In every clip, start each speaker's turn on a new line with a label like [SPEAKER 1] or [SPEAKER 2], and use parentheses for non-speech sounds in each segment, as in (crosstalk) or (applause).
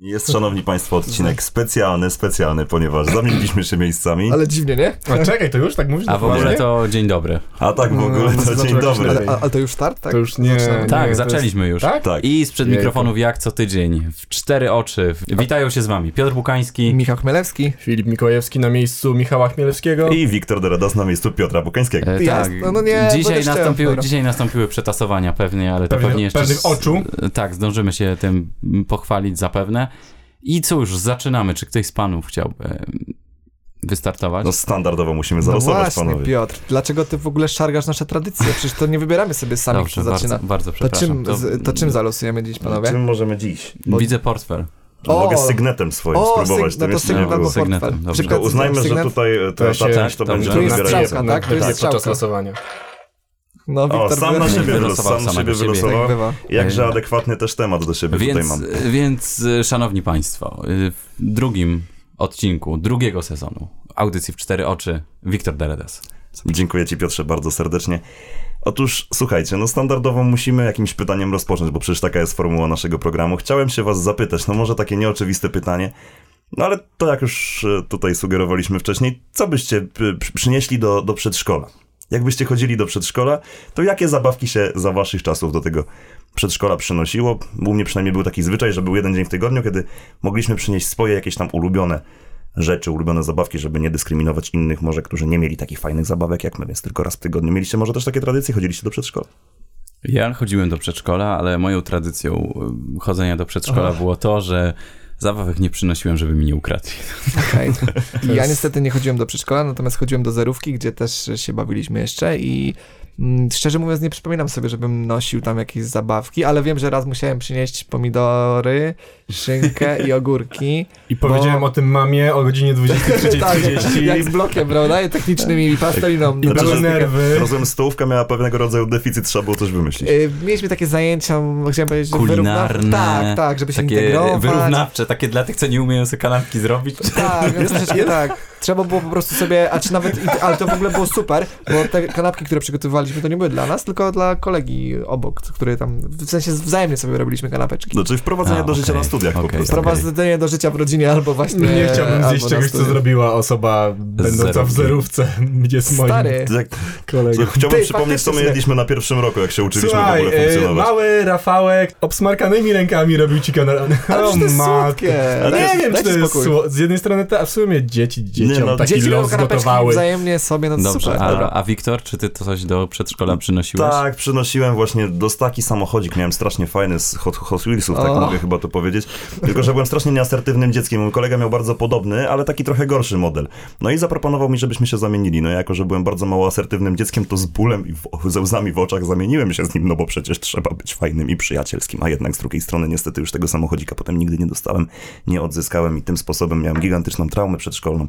[SPEAKER 1] Jest, szanowni państwo, odcinek specjalny, specjalny, ponieważ zamieniliśmy się miejscami.
[SPEAKER 2] Ale dziwnie, nie?
[SPEAKER 3] A czekaj, to już tak mówisz?
[SPEAKER 4] A w
[SPEAKER 3] Poważnie?
[SPEAKER 4] ogóle to dzień dobry.
[SPEAKER 1] A tak w ogóle
[SPEAKER 3] No,
[SPEAKER 1] to
[SPEAKER 3] znaczy
[SPEAKER 1] dzień
[SPEAKER 3] jakiś
[SPEAKER 1] dobry.
[SPEAKER 3] lepiej.
[SPEAKER 2] Ale, a, ale to już start, tak?
[SPEAKER 3] To już nie...
[SPEAKER 2] Zaczynamy.
[SPEAKER 3] nie
[SPEAKER 4] Tak,
[SPEAKER 3] to
[SPEAKER 4] zaczęliśmy już.
[SPEAKER 3] Tak?
[SPEAKER 1] Tak.
[SPEAKER 4] I sprzed
[SPEAKER 3] Jejku.
[SPEAKER 4] mikrofonów jak co tydzień, w cztery oczy. W- Witają się z wami Piotr Bukański.
[SPEAKER 2] Michał Chmielewski.
[SPEAKER 3] Filip Mikołajewski na miejscu Michała Chmielewskiego.
[SPEAKER 1] I Wiktor Doradas na miejscu Piotra Bukańskiego.
[SPEAKER 4] E,
[SPEAKER 2] Jest. No, no nie, bo
[SPEAKER 4] dzisiaj,
[SPEAKER 2] też chciałem,
[SPEAKER 4] nastąpiły,
[SPEAKER 2] dobra.
[SPEAKER 4] dzisiaj nastąpiły przetasowania pewnie, ale to
[SPEAKER 3] Pewnie-
[SPEAKER 4] pewnie jeszcze...
[SPEAKER 3] pewnych
[SPEAKER 4] z-
[SPEAKER 3] oczu.
[SPEAKER 4] Tak, zdążymy się tym pochwalić zapewne. I cóż, zaczynamy. Czy ktoś z panów chciał e, wystartować?
[SPEAKER 1] No standardowo musimy
[SPEAKER 2] No
[SPEAKER 1] zarosować,
[SPEAKER 2] właśnie,
[SPEAKER 1] panowie.
[SPEAKER 2] Piotr, dlaczego ty w ogóle szargasz nasze tradycje? Przecież to nie wybieramy sobie sami,
[SPEAKER 4] Dobrze,
[SPEAKER 2] kto zaczyna.
[SPEAKER 4] bardzo, bardzo
[SPEAKER 2] To
[SPEAKER 4] przepraszam.
[SPEAKER 2] czym, z, to czym zalosujemy dziś, panowie?
[SPEAKER 1] Czym możemy dziś?
[SPEAKER 4] Widzę portfel.
[SPEAKER 2] O!
[SPEAKER 1] No, Mogę sygnetem swoim
[SPEAKER 2] O,
[SPEAKER 1] spróbować,
[SPEAKER 2] syg, no
[SPEAKER 1] to
[SPEAKER 2] to
[SPEAKER 1] jeszcze nie
[SPEAKER 2] sygnet albo
[SPEAKER 1] było.
[SPEAKER 4] portfel. Sygnetem,
[SPEAKER 2] fortfal.
[SPEAKER 4] dobrze.
[SPEAKER 2] Szybko
[SPEAKER 1] Tylko uznajmy, że
[SPEAKER 2] sygnet.
[SPEAKER 1] tutaj e, ta,
[SPEAKER 3] To się-
[SPEAKER 1] ta część to
[SPEAKER 4] dobrze.
[SPEAKER 1] będzie
[SPEAKER 4] Tu
[SPEAKER 2] jest
[SPEAKER 1] wybierająca.
[SPEAKER 2] strzałka, tak? Tu jest
[SPEAKER 3] podczas
[SPEAKER 2] strzałka.
[SPEAKER 3] losowania.
[SPEAKER 2] No,
[SPEAKER 1] O,
[SPEAKER 2] Wiktor,
[SPEAKER 1] sam na
[SPEAKER 2] wyraźnie.
[SPEAKER 1] siebie wylosował,
[SPEAKER 4] Wylosował
[SPEAKER 1] sam
[SPEAKER 4] samego
[SPEAKER 1] siebie
[SPEAKER 4] siebie.
[SPEAKER 2] Tak
[SPEAKER 1] wylosował.
[SPEAKER 2] bywa.
[SPEAKER 1] Jakże
[SPEAKER 4] E,
[SPEAKER 1] adekwatny też temat do siebie tutaj
[SPEAKER 4] Więc,
[SPEAKER 1] mam.
[SPEAKER 4] więc e, szanowni państwo, e, w drugim odcinku drugiego sezonu audycji w cztery oczy Wiktor Deredes.
[SPEAKER 1] Dziękuję Ci, Piotrze, bardzo serdecznie. Otóż, słuchajcie, no standardowo musimy jakimś pytaniem rozpocząć, bo przecież taka jest formuła naszego programu. Chciałem się Was zapytać, no może takie nieoczywiste pytanie, no ale to jak już e, tutaj sugerowaliśmy wcześniej, co byście p- przy- przynieśli do, do przedszkola? Jakbyście chodzili do przedszkola, to jakie zabawki się za Waszych czasów do tego przedszkola przynosiło? U mnie przynajmniej był taki zwyczaj, że był jeden dzień w tygodniu, kiedy mogliśmy przynieść swoje jakieś tam ulubione rzeczy, ulubione zabawki, żeby nie dyskryminować innych może, którzy nie mieli takich fajnych zabawek jak my, więc tylko raz w tygodniu. Mieliście może też takie tradycje, chodziliście do przedszkola?
[SPEAKER 4] Ja chodziłem do przedszkola, ale moją tradycją y, chodzenia do przedszkola było to, że zabawek nie przynosiłem, żeby mi nie ukradli.
[SPEAKER 1] (laughs)
[SPEAKER 2] Okej. Ja niestety nie chodziłem do przedszkola, natomiast chodziłem do zerówki, gdzie też się bawiliśmy jeszcze i mm, szczerze mówiąc nie przypominam sobie, żebym nosił tam jakieś zabawki, ale wiem, że raz musiałem przynieść pomidory, szynkę i ogórki.
[SPEAKER 3] I powiedziałem o tym mamie o godzinie 23.30.
[SPEAKER 2] Tak, jak z blokiem, prawda? I technicznym i pasteliną.
[SPEAKER 3] Tak.
[SPEAKER 2] Znaczy,
[SPEAKER 3] I
[SPEAKER 2] na
[SPEAKER 3] były
[SPEAKER 2] plastykę.
[SPEAKER 3] nerwy.
[SPEAKER 1] Znaczy, Rozumiem, stołówka miała pewnego rodzaju deficyt, trzeba było coś
[SPEAKER 4] E-
[SPEAKER 1] wymyślić.
[SPEAKER 2] Y, Mieliśmy takie zajęcia, chciałem powiedzieć, że
[SPEAKER 4] Kulinarne.
[SPEAKER 2] wyrównaw- Tak, tak, żeby się
[SPEAKER 4] Takie
[SPEAKER 2] integrować.
[SPEAKER 4] wyrównawcze, takie dla tych, co nie umieją sobie kanapki zrobić.
[SPEAKER 2] Tak, no troszeczkę tak. Trzeba było po prostu sobie, a czy nawet, i- ale to w ogóle było super, bo te kanapki, które przygotowywaliśmy, to nie były dla nas, tylko dla kolegi obok, który tam, w sensie wzajemnie sobie robiliśmy
[SPEAKER 3] No,
[SPEAKER 2] kanapeczki.
[SPEAKER 1] Znaczy wprowadzenie
[SPEAKER 4] A,
[SPEAKER 1] do życia
[SPEAKER 4] okej,
[SPEAKER 1] na studiach po
[SPEAKER 4] okej.
[SPEAKER 1] prostu.
[SPEAKER 2] Sprowadzenie do życia w rodzinie albo właśnie...
[SPEAKER 3] Nie chciałbym
[SPEAKER 2] albo
[SPEAKER 3] zjeść
[SPEAKER 2] na
[SPEAKER 3] czegoś, co
[SPEAKER 2] studiach.
[SPEAKER 3] zrobiła osoba będąca w
[SPEAKER 4] zerówki.
[SPEAKER 3] zerówce. (laughs) Gdzie z moim
[SPEAKER 2] Stary,
[SPEAKER 1] Tak,
[SPEAKER 3] kolegą.
[SPEAKER 1] chciałbym
[SPEAKER 2] Ty,
[SPEAKER 1] przypomnieć, co my
[SPEAKER 2] faktycznie.
[SPEAKER 1] jedliśmy na pierwszym roku, jak się uczyliśmy
[SPEAKER 3] Słuchaj,
[SPEAKER 1] w ogóle
[SPEAKER 3] e,
[SPEAKER 1] funkcjonować.
[SPEAKER 3] mały Rafałek obsmarkanymi rękami robił ci kanał. (laughs)
[SPEAKER 2] ale przecież to jest słodkie.
[SPEAKER 3] No
[SPEAKER 2] Dajcie-
[SPEAKER 3] nie wiem, czy
[SPEAKER 2] dajcie
[SPEAKER 3] to jest
[SPEAKER 2] spokój.
[SPEAKER 3] sło... Z jednej strony, ta, w sumie dzieci dzieciom
[SPEAKER 1] Nie, no,
[SPEAKER 3] taki
[SPEAKER 2] Dzieci robią
[SPEAKER 3] los
[SPEAKER 2] kanapeczki
[SPEAKER 3] gotowały.
[SPEAKER 2] wzajemnie sobie, no to
[SPEAKER 4] Dobrze,
[SPEAKER 2] super.
[SPEAKER 4] a, a Wiktor, czy ty to coś do przedszkola przynosiłeś?
[SPEAKER 1] Tak, przynosiłem właśnie dostaki samochodzik. Miałem strasznie fajny z Hot, Hot Wheelsów, tak
[SPEAKER 2] O.
[SPEAKER 1] mogę chyba to powiedzieć. Tylko, że byłem strasznie nieasertywnym dzieckiem. Mój kolega miał bardzo podobny, ale taki trochę gorszy model. No i zaproponował mi, żebyśmy się zamienili. No jako, że byłem bardzo mało asertywnym dzieckiem, to z bólem i w, ze łzami w oczach zamieniłem się z nim, no bo przecież trzeba być fajnym i przyjacielskim. A jednak z drugiej strony niestety już tego samochodzika potem nigdy nie dostałem, nie odzyskałem i tym sposobem miałem gigantyczną traumę przedszkolną.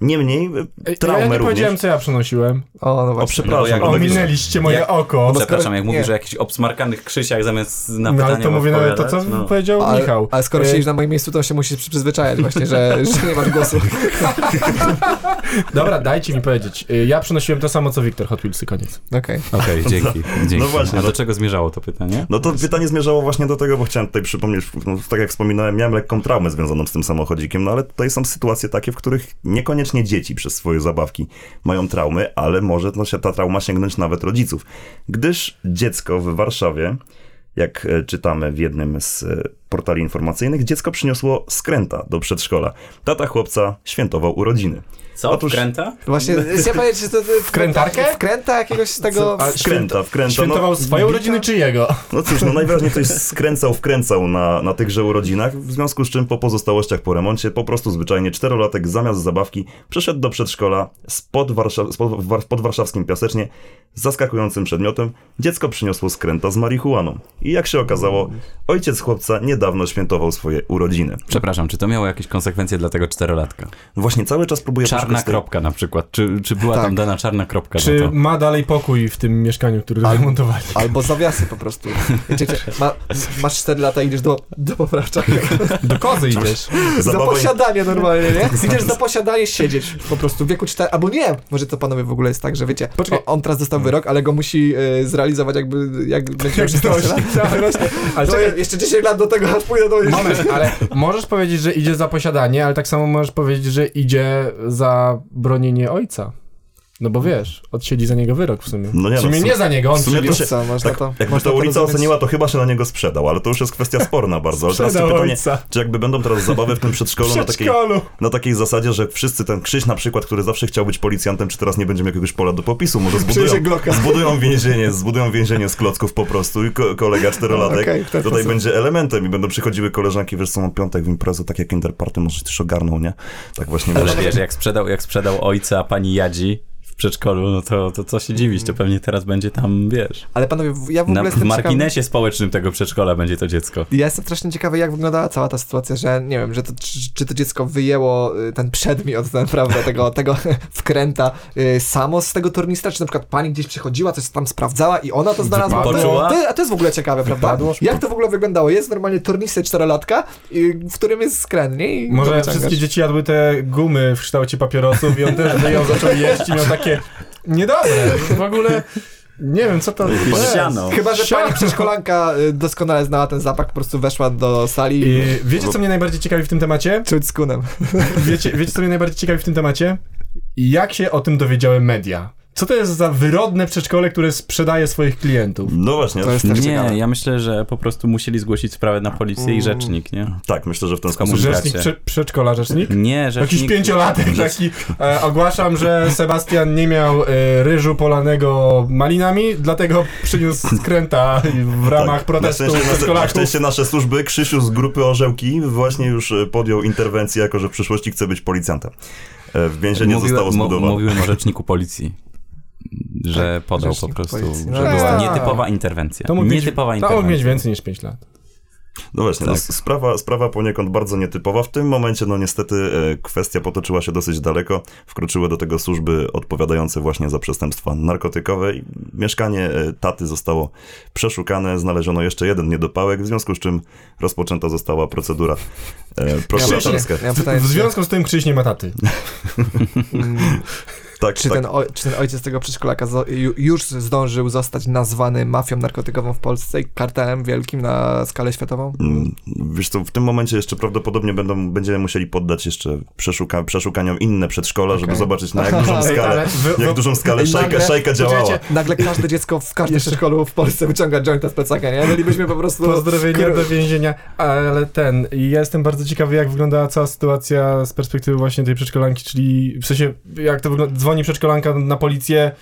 [SPEAKER 1] Niemniej,
[SPEAKER 3] Ej, no
[SPEAKER 1] traumę
[SPEAKER 3] ja nie
[SPEAKER 1] również...
[SPEAKER 3] powiedziałem, co ja przynosiłem.
[SPEAKER 2] O, no
[SPEAKER 1] O,
[SPEAKER 2] właśnie.
[SPEAKER 4] No,
[SPEAKER 1] przepraszam.
[SPEAKER 4] jak-
[SPEAKER 1] ale-
[SPEAKER 3] Ominęliście moje
[SPEAKER 4] Jak-
[SPEAKER 3] oko.
[SPEAKER 4] Przepraszam, jak
[SPEAKER 2] Nie.
[SPEAKER 4] mówisz o jakichś obsmarkanych krzysiach zamiast na
[SPEAKER 3] No
[SPEAKER 4] pytania
[SPEAKER 3] ale to mówię nawet to, co
[SPEAKER 4] no.
[SPEAKER 3] powiedział
[SPEAKER 2] Ale,
[SPEAKER 3] Michał.
[SPEAKER 2] ale skoro
[SPEAKER 3] E,
[SPEAKER 2] siedzisz na moim miejscu, to się musisz przyzwyczajać właśnie,
[SPEAKER 3] (laughs)
[SPEAKER 2] że, że nie masz głosu.
[SPEAKER 3] Dobra, dajcie mi powiedzieć. E, Ja przynosiłem to samo, co Wiktor Hot Wheelsy, koniec.
[SPEAKER 2] Okej.
[SPEAKER 4] Okej, dzięki, dzięki.
[SPEAKER 1] No właśnie,
[SPEAKER 4] A
[SPEAKER 1] no-
[SPEAKER 4] do czego zmierzało to pytanie?
[SPEAKER 1] No to pytanie zmierzało właśnie do tego, bo chciałem tutaj przypomnieć, no, tak jak wspominałem, miałem lekką traumę związaną z tym samochodzikiem, no ale tutaj są sytuacje takie, w których niekoniecznie dzieci przez swoje zabawki mają traumy, ale może no, się ta trauma sięgnąć nawet rodziców. Gdyż dziecko w Warszawie, jak e, czytamy w jednym z e, portali informacyjnych, dziecko przyniosło skręta do przedszkola. Tata chłopca świętował urodziny.
[SPEAKER 4] Co,
[SPEAKER 1] Otóż-
[SPEAKER 4] kręta?
[SPEAKER 2] Właśnie, chciałem powiedzieć, że to... to-
[SPEAKER 3] Wkrętarkę?
[SPEAKER 2] Wkręta jakiegoś z tego...
[SPEAKER 3] Co? A
[SPEAKER 1] Skręta, wkręta.
[SPEAKER 3] Świętował
[SPEAKER 1] no,
[SPEAKER 3] swoją
[SPEAKER 1] bita-
[SPEAKER 3] rodzinę czy jego?
[SPEAKER 1] No cóż, no najwyraźniej ktoś skręcał, wkręcał na, na tychże urodzinach, w związku z czym po pozostałościach po remoncie po prostu zwyczajnie czterolatek zamiast zabawki przeszedł do przedszkola spod, Warsza- spod, war, pod warszawskim piasecznie z zaskakującym przedmiotem. Dziecko przyniosło skręta z marihuaną. I jak się okazało, ojciec chłopca niedawno świętował swoje urodziny.
[SPEAKER 4] Przepraszam, czy to miało jakieś konsekwencje dla tego czterolatka?
[SPEAKER 1] Właśnie cały czas próbuję
[SPEAKER 4] Czarna
[SPEAKER 1] poszukać tej-
[SPEAKER 4] kropka na przykład. Czy, czy była
[SPEAKER 2] Tak.
[SPEAKER 4] tam dana czarna kropka
[SPEAKER 3] Czy
[SPEAKER 4] za no to?
[SPEAKER 3] ma dalej pokój w tym mieszkaniu, który remontowali?
[SPEAKER 2] Albo zawiasy po prostu. Wiecie, wiecie, ma, masz 4 lata i idziesz do, do
[SPEAKER 3] (laughs)
[SPEAKER 2] poprawczaka.
[SPEAKER 3] Do (laughs) kozy idziesz.
[SPEAKER 2] Za
[SPEAKER 3] No
[SPEAKER 1] Zabawa-
[SPEAKER 2] posiadanie normalnie,
[SPEAKER 3] (laughs)
[SPEAKER 2] nie? Idziesz za posiadanie siedzieć po prostu w wieku 4... Albo nie! Może to panowie w ogóle jest tak, że wiecie,
[SPEAKER 3] Poczekaj.
[SPEAKER 2] o, on teraz dostał wyrok, ale go musi e, zrealizować jakby... Jak będzie miał
[SPEAKER 3] Jak
[SPEAKER 2] 16 lat.
[SPEAKER 3] dorośnie. Ale
[SPEAKER 2] To
[SPEAKER 3] czekaj,
[SPEAKER 2] jeszcze 10 lat do tego chodź pójdę do jeziora.
[SPEAKER 3] Moment, ale możesz powiedzieć, że idzie za posiadanie, ale tak samo możesz powiedzieć, że idzie za bronienie ojca. No bo wiesz, odsiedzi za niego wyrok w sumie.
[SPEAKER 1] No nie,
[SPEAKER 3] w
[SPEAKER 1] no,
[SPEAKER 3] sumie
[SPEAKER 1] w sum-
[SPEAKER 3] nie za niego, on
[SPEAKER 1] w sumie
[SPEAKER 3] sumie
[SPEAKER 1] to się-
[SPEAKER 2] Co, można
[SPEAKER 1] Tak,
[SPEAKER 2] to...
[SPEAKER 1] jakby
[SPEAKER 2] można
[SPEAKER 1] ta
[SPEAKER 2] to
[SPEAKER 1] ulica
[SPEAKER 2] rozumieć?
[SPEAKER 1] oceniła, to chyba się na niego sprzedał, ale to już jest kwestia sporna bardzo. Ale teraz
[SPEAKER 3] Sprzedał
[SPEAKER 1] pytanie,
[SPEAKER 3] ojca.
[SPEAKER 1] czy jakby będą teraz zabawy w tym przedszkolu na takiej,
[SPEAKER 3] Przedszkolu.
[SPEAKER 1] na takiej zasadzie, że wszyscy ten Krzyś na przykład, który zawsze chciał być policjantem, czy teraz nie będzie miał jakiegoś pola do popisu, może zbudują,
[SPEAKER 2] Przyniesie Glocka.
[SPEAKER 1] zbudują więzienie, zbudują więzienie z klocków po prostu i ko kolega czterolatek
[SPEAKER 2] Okej, tak, w ten
[SPEAKER 1] tutaj
[SPEAKER 2] sposób.
[SPEAKER 1] będzie elementem i będą przychodziły koleżanki, wiesz co, mam piątek w imprezę, tak jak Interparty, może też ogarnął, nie? Tak właśnie
[SPEAKER 4] Ale
[SPEAKER 1] wiesz.
[SPEAKER 4] wiesz, jak sprzedał, jak sprzedał ojca pani Jadzi w przedszkolu, no to, to co się dziwić, to pewnie teraz będzie tam, wiesz,
[SPEAKER 2] Ale panowie, w- ja w ogóle
[SPEAKER 4] na, w
[SPEAKER 2] jestem ciekawy...
[SPEAKER 4] marginesie społecznym tego przedszkola będzie to dziecko.
[SPEAKER 2] Ja jestem strasznie ciekawy, jak wyglądała cała ta sytuacja, że nie wiem, że to, czy, czy to dziecko wyjęło y, ten przedmiot, ten, prawda, tego, tego (laughs) wkręta y, samo z tego tornistra, czy na przykład pani gdzieś przychodziła, coś tam sprawdzała i ona to znalazła. To,
[SPEAKER 4] Wypadło.
[SPEAKER 2] to, a to jest w ogóle ciekawe, prawda?
[SPEAKER 3] Wypadło.
[SPEAKER 2] Jak to w ogóle wyglądało? Jest normalnie tornister czterolatka, y, w którym jest skręt, nie? I go
[SPEAKER 3] Może
[SPEAKER 2] wyciągasz.
[SPEAKER 3] wszystkie dzieci jadły te gumy w kształcie papierosów i on też wyjął, zaczął jeść i miał takie niedobre, w ogóle nie wiem co to jest.
[SPEAKER 4] Ścianą.
[SPEAKER 2] Chyba, że
[SPEAKER 3] Siano.
[SPEAKER 2] pani przedszkolanka y, doskonale znała ten zapach, po prostu weszła do sali i...
[SPEAKER 3] I wiecie co mnie najbardziej ciekawi w tym temacie?
[SPEAKER 2] Czuć z kunem.
[SPEAKER 3] Wiecie, wiecie co mnie najbardziej ciekawi w tym temacie? Jak się o tym dowiedziały media? Co to jest za wyrodne przedszkole, które sprzedaje swoich klientów?
[SPEAKER 1] No właśnie,
[SPEAKER 2] To jest też ciekawe.
[SPEAKER 4] Nie, ja myślę, że po prostu musieli zgłosić sprawę na policję i rzecznik, nie?
[SPEAKER 1] tak, myślę, że w ten
[SPEAKER 4] Tylko
[SPEAKER 1] sposób...
[SPEAKER 4] może-
[SPEAKER 3] Rzecznik prze, przedszkola, rzecznik?
[SPEAKER 4] Nie,
[SPEAKER 3] Jakiś
[SPEAKER 4] rzecznik...
[SPEAKER 3] pięciolatek taki. E, ogłaszam, że Sebastian nie miał e, ryżu polanego malinami, dlatego przyniósł skręta w ramach protestu
[SPEAKER 1] Tak, na szczęście, na, na
[SPEAKER 3] przedszkolaków.
[SPEAKER 1] szczęście nasze służby, Krzysiu z grupy Orzełki właśnie już e, podjął interwencję, jako że w przyszłości chce być policjantem. E, W więzienie
[SPEAKER 4] Mówiłem-
[SPEAKER 1] zostało
[SPEAKER 4] mo-
[SPEAKER 1] zbudowane.
[SPEAKER 4] Mówiłem o rzeczniku policji, że podał
[SPEAKER 2] Tak,
[SPEAKER 4] po
[SPEAKER 2] rzecznik
[SPEAKER 4] prostu,
[SPEAKER 2] policji.
[SPEAKER 4] że
[SPEAKER 2] No
[SPEAKER 4] była
[SPEAKER 3] tak.
[SPEAKER 4] nietypowa interwencja.
[SPEAKER 3] To mógł mieć,
[SPEAKER 4] Nietypowa
[SPEAKER 3] to mógł mieć
[SPEAKER 4] interwencja.
[SPEAKER 3] więcej niż
[SPEAKER 1] (laughs)
[SPEAKER 3] 5 lat.
[SPEAKER 1] No właśnie, no,
[SPEAKER 4] Tak.
[SPEAKER 1] s- sprawa, sprawa poniekąd bardzo nietypowa. W tym momencie, no niestety, e, kwestia potoczyła się dosyć daleko. Wkroczyły do tego służby odpowiadające właśnie za przestępstwa narkotykowe. i Mieszkanie e, taty zostało przeszukane, znaleziono jeszcze jeden niedopałek, w związku z czym rozpoczęta została procedura e, prokuratorska.
[SPEAKER 2] Ja mam pytanie,
[SPEAKER 3] W
[SPEAKER 2] czy-
[SPEAKER 3] związku z tym Krzyś nie ma taty.
[SPEAKER 2] mm,
[SPEAKER 1] Tak,
[SPEAKER 2] Czy,
[SPEAKER 1] tak.
[SPEAKER 2] ten oj, czy ten ojciec tego przedszkolaka zo, ju, już zdążył zostać nazwany mafią narkotykową w Polsce i kartelem wielkim na skalę światową?
[SPEAKER 1] Mm, Wiesz co, w tym momencie jeszcze prawdopodobnie będą, będziemy musieli poddać jeszcze przeszuka, przeszukaniom inne przedszkola, żeby
[SPEAKER 2] Okej.
[SPEAKER 1] zobaczyć na jak dużą
[SPEAKER 2] (laughs) Ale-
[SPEAKER 1] skalę,
[SPEAKER 3] wy-
[SPEAKER 1] jak
[SPEAKER 3] wy-
[SPEAKER 1] dużą skalę szajka,
[SPEAKER 2] Nagle-
[SPEAKER 1] szajka działała.
[SPEAKER 2] Czekajcie, Nagle każde dziecko w każdym przedszkolu w Polsce wyciąga jointa z plecaka, nie? Bylibyśmy po prostu...
[SPEAKER 3] Pozdrowienia
[SPEAKER 2] Kru-
[SPEAKER 3] do więzienia, ale ten, ja jestem bardzo ciekawy, jak wygląda cała sytuacja z perspektywy właśnie tej przedszkolanki, czyli w sensie, jak to wygląda, dzwoni przedszkolanka na policję,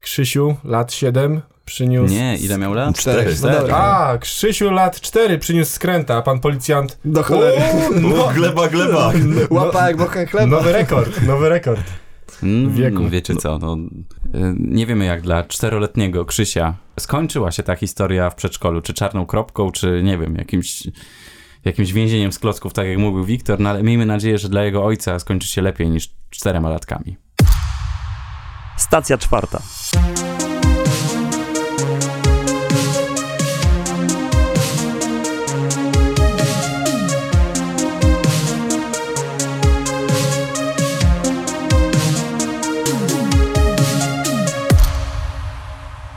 [SPEAKER 3] Krzysiu, lat 7, przyniósł...
[SPEAKER 4] Nie, ile miał lat?
[SPEAKER 2] Cztery.
[SPEAKER 1] Cztery.
[SPEAKER 2] No dobra.
[SPEAKER 3] A, Krzysiu, lat 4, przyniósł skręta, a pan policjant...
[SPEAKER 2] Do cholery. (laughs)
[SPEAKER 3] No.
[SPEAKER 1] U, gleba, gleba.
[SPEAKER 2] Łapa jak bochen chleba.
[SPEAKER 3] Nowy rekord, nowy rekord.
[SPEAKER 4] Mm,
[SPEAKER 3] wieku.
[SPEAKER 4] Wiecie co, no, y, nie wiemy jak dla czteroletniego Krzysia skończyła się ta historia w przedszkolu, czy czarną kropką, czy nie wiem, jakimś, jakimś więzieniem z klocków, tak jak mówił Wiktor, no, ale miejmy nadzieję, że dla jego ojca skończy się lepiej niż czterema latkami.
[SPEAKER 5] Stacja czwarta.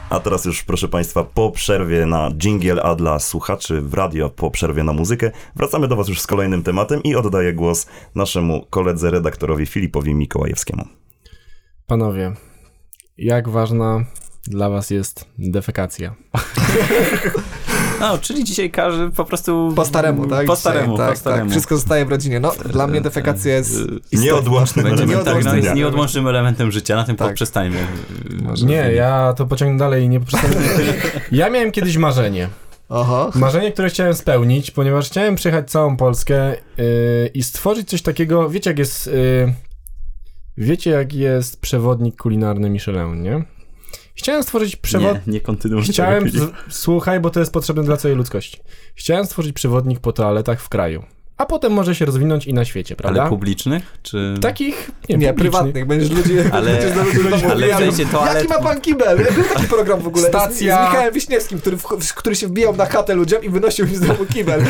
[SPEAKER 1] A teraz już, proszę Państwa, po przerwie na jingle, a dla słuchaczy w radio po przerwie na muzykę, wracamy do Was już z kolejnym tematem i oddaję głos naszemu koledze, redaktorowi Filipowi Mikołajewskiemu.
[SPEAKER 3] Panowie, jak ważna dla was jest defekacja?
[SPEAKER 4] No, czyli dzisiaj każdy po prostu...
[SPEAKER 2] Po staremu, tak?
[SPEAKER 4] Po
[SPEAKER 2] Dzisiaj,
[SPEAKER 4] staremu,
[SPEAKER 2] tak,
[SPEAKER 4] po staremu. Eee,
[SPEAKER 2] Tak. Wszystko zostaje w rodzinie. No, dla mnie defekacja jest...
[SPEAKER 1] Nieodłącznym
[SPEAKER 4] Będzie
[SPEAKER 1] elementem
[SPEAKER 4] tak, no,
[SPEAKER 2] Nieodłączny.
[SPEAKER 1] dnia.
[SPEAKER 4] jest nieodłącznym elementem życia, na tym
[SPEAKER 2] Tak.
[SPEAKER 4] poprzestańmy.
[SPEAKER 2] Może
[SPEAKER 3] Nie, ja to pociągnę dalej i nie przestanę. Ja miałem kiedyś marzenie.
[SPEAKER 2] Oho.
[SPEAKER 3] Marzenie, które chciałem spełnić, ponieważ chciałem przyjechać całą Polskę yy, i stworzyć coś takiego, wiecie jak jest yy, wiecie jak jest przewodnik kulinarny Michelin, nie? Chciałem stworzyć przewod...
[SPEAKER 4] Nie, nie kontynuuj tego,
[SPEAKER 3] Chciałem,
[SPEAKER 4] Filip.
[SPEAKER 3] z... słuchaj, bo to jest potrzebne dla całej ludzkości. Chciałem stworzyć przewodnik po toaletach w kraju. a potem może się rozwinąć i na świecie, prawda? Tak,
[SPEAKER 4] Ale publicznych? Czy...
[SPEAKER 3] Takich,
[SPEAKER 2] Nie,
[SPEAKER 3] nie, publicznych.
[SPEAKER 2] prywatnych, będziesz ludzi,
[SPEAKER 4] Ale-
[SPEAKER 2] będziesz do ludzi
[SPEAKER 4] ale
[SPEAKER 2] mówił,
[SPEAKER 4] w
[SPEAKER 2] ja-
[SPEAKER 4] sensie toalet-
[SPEAKER 2] Jaki ma pan kibel? Był taki program w ogóle
[SPEAKER 3] Stacja-
[SPEAKER 2] z, z Michałem Wiśniewskim, który, w, który się wbijał na chatę ludziom i wynosił im z domu (laughs) kibel.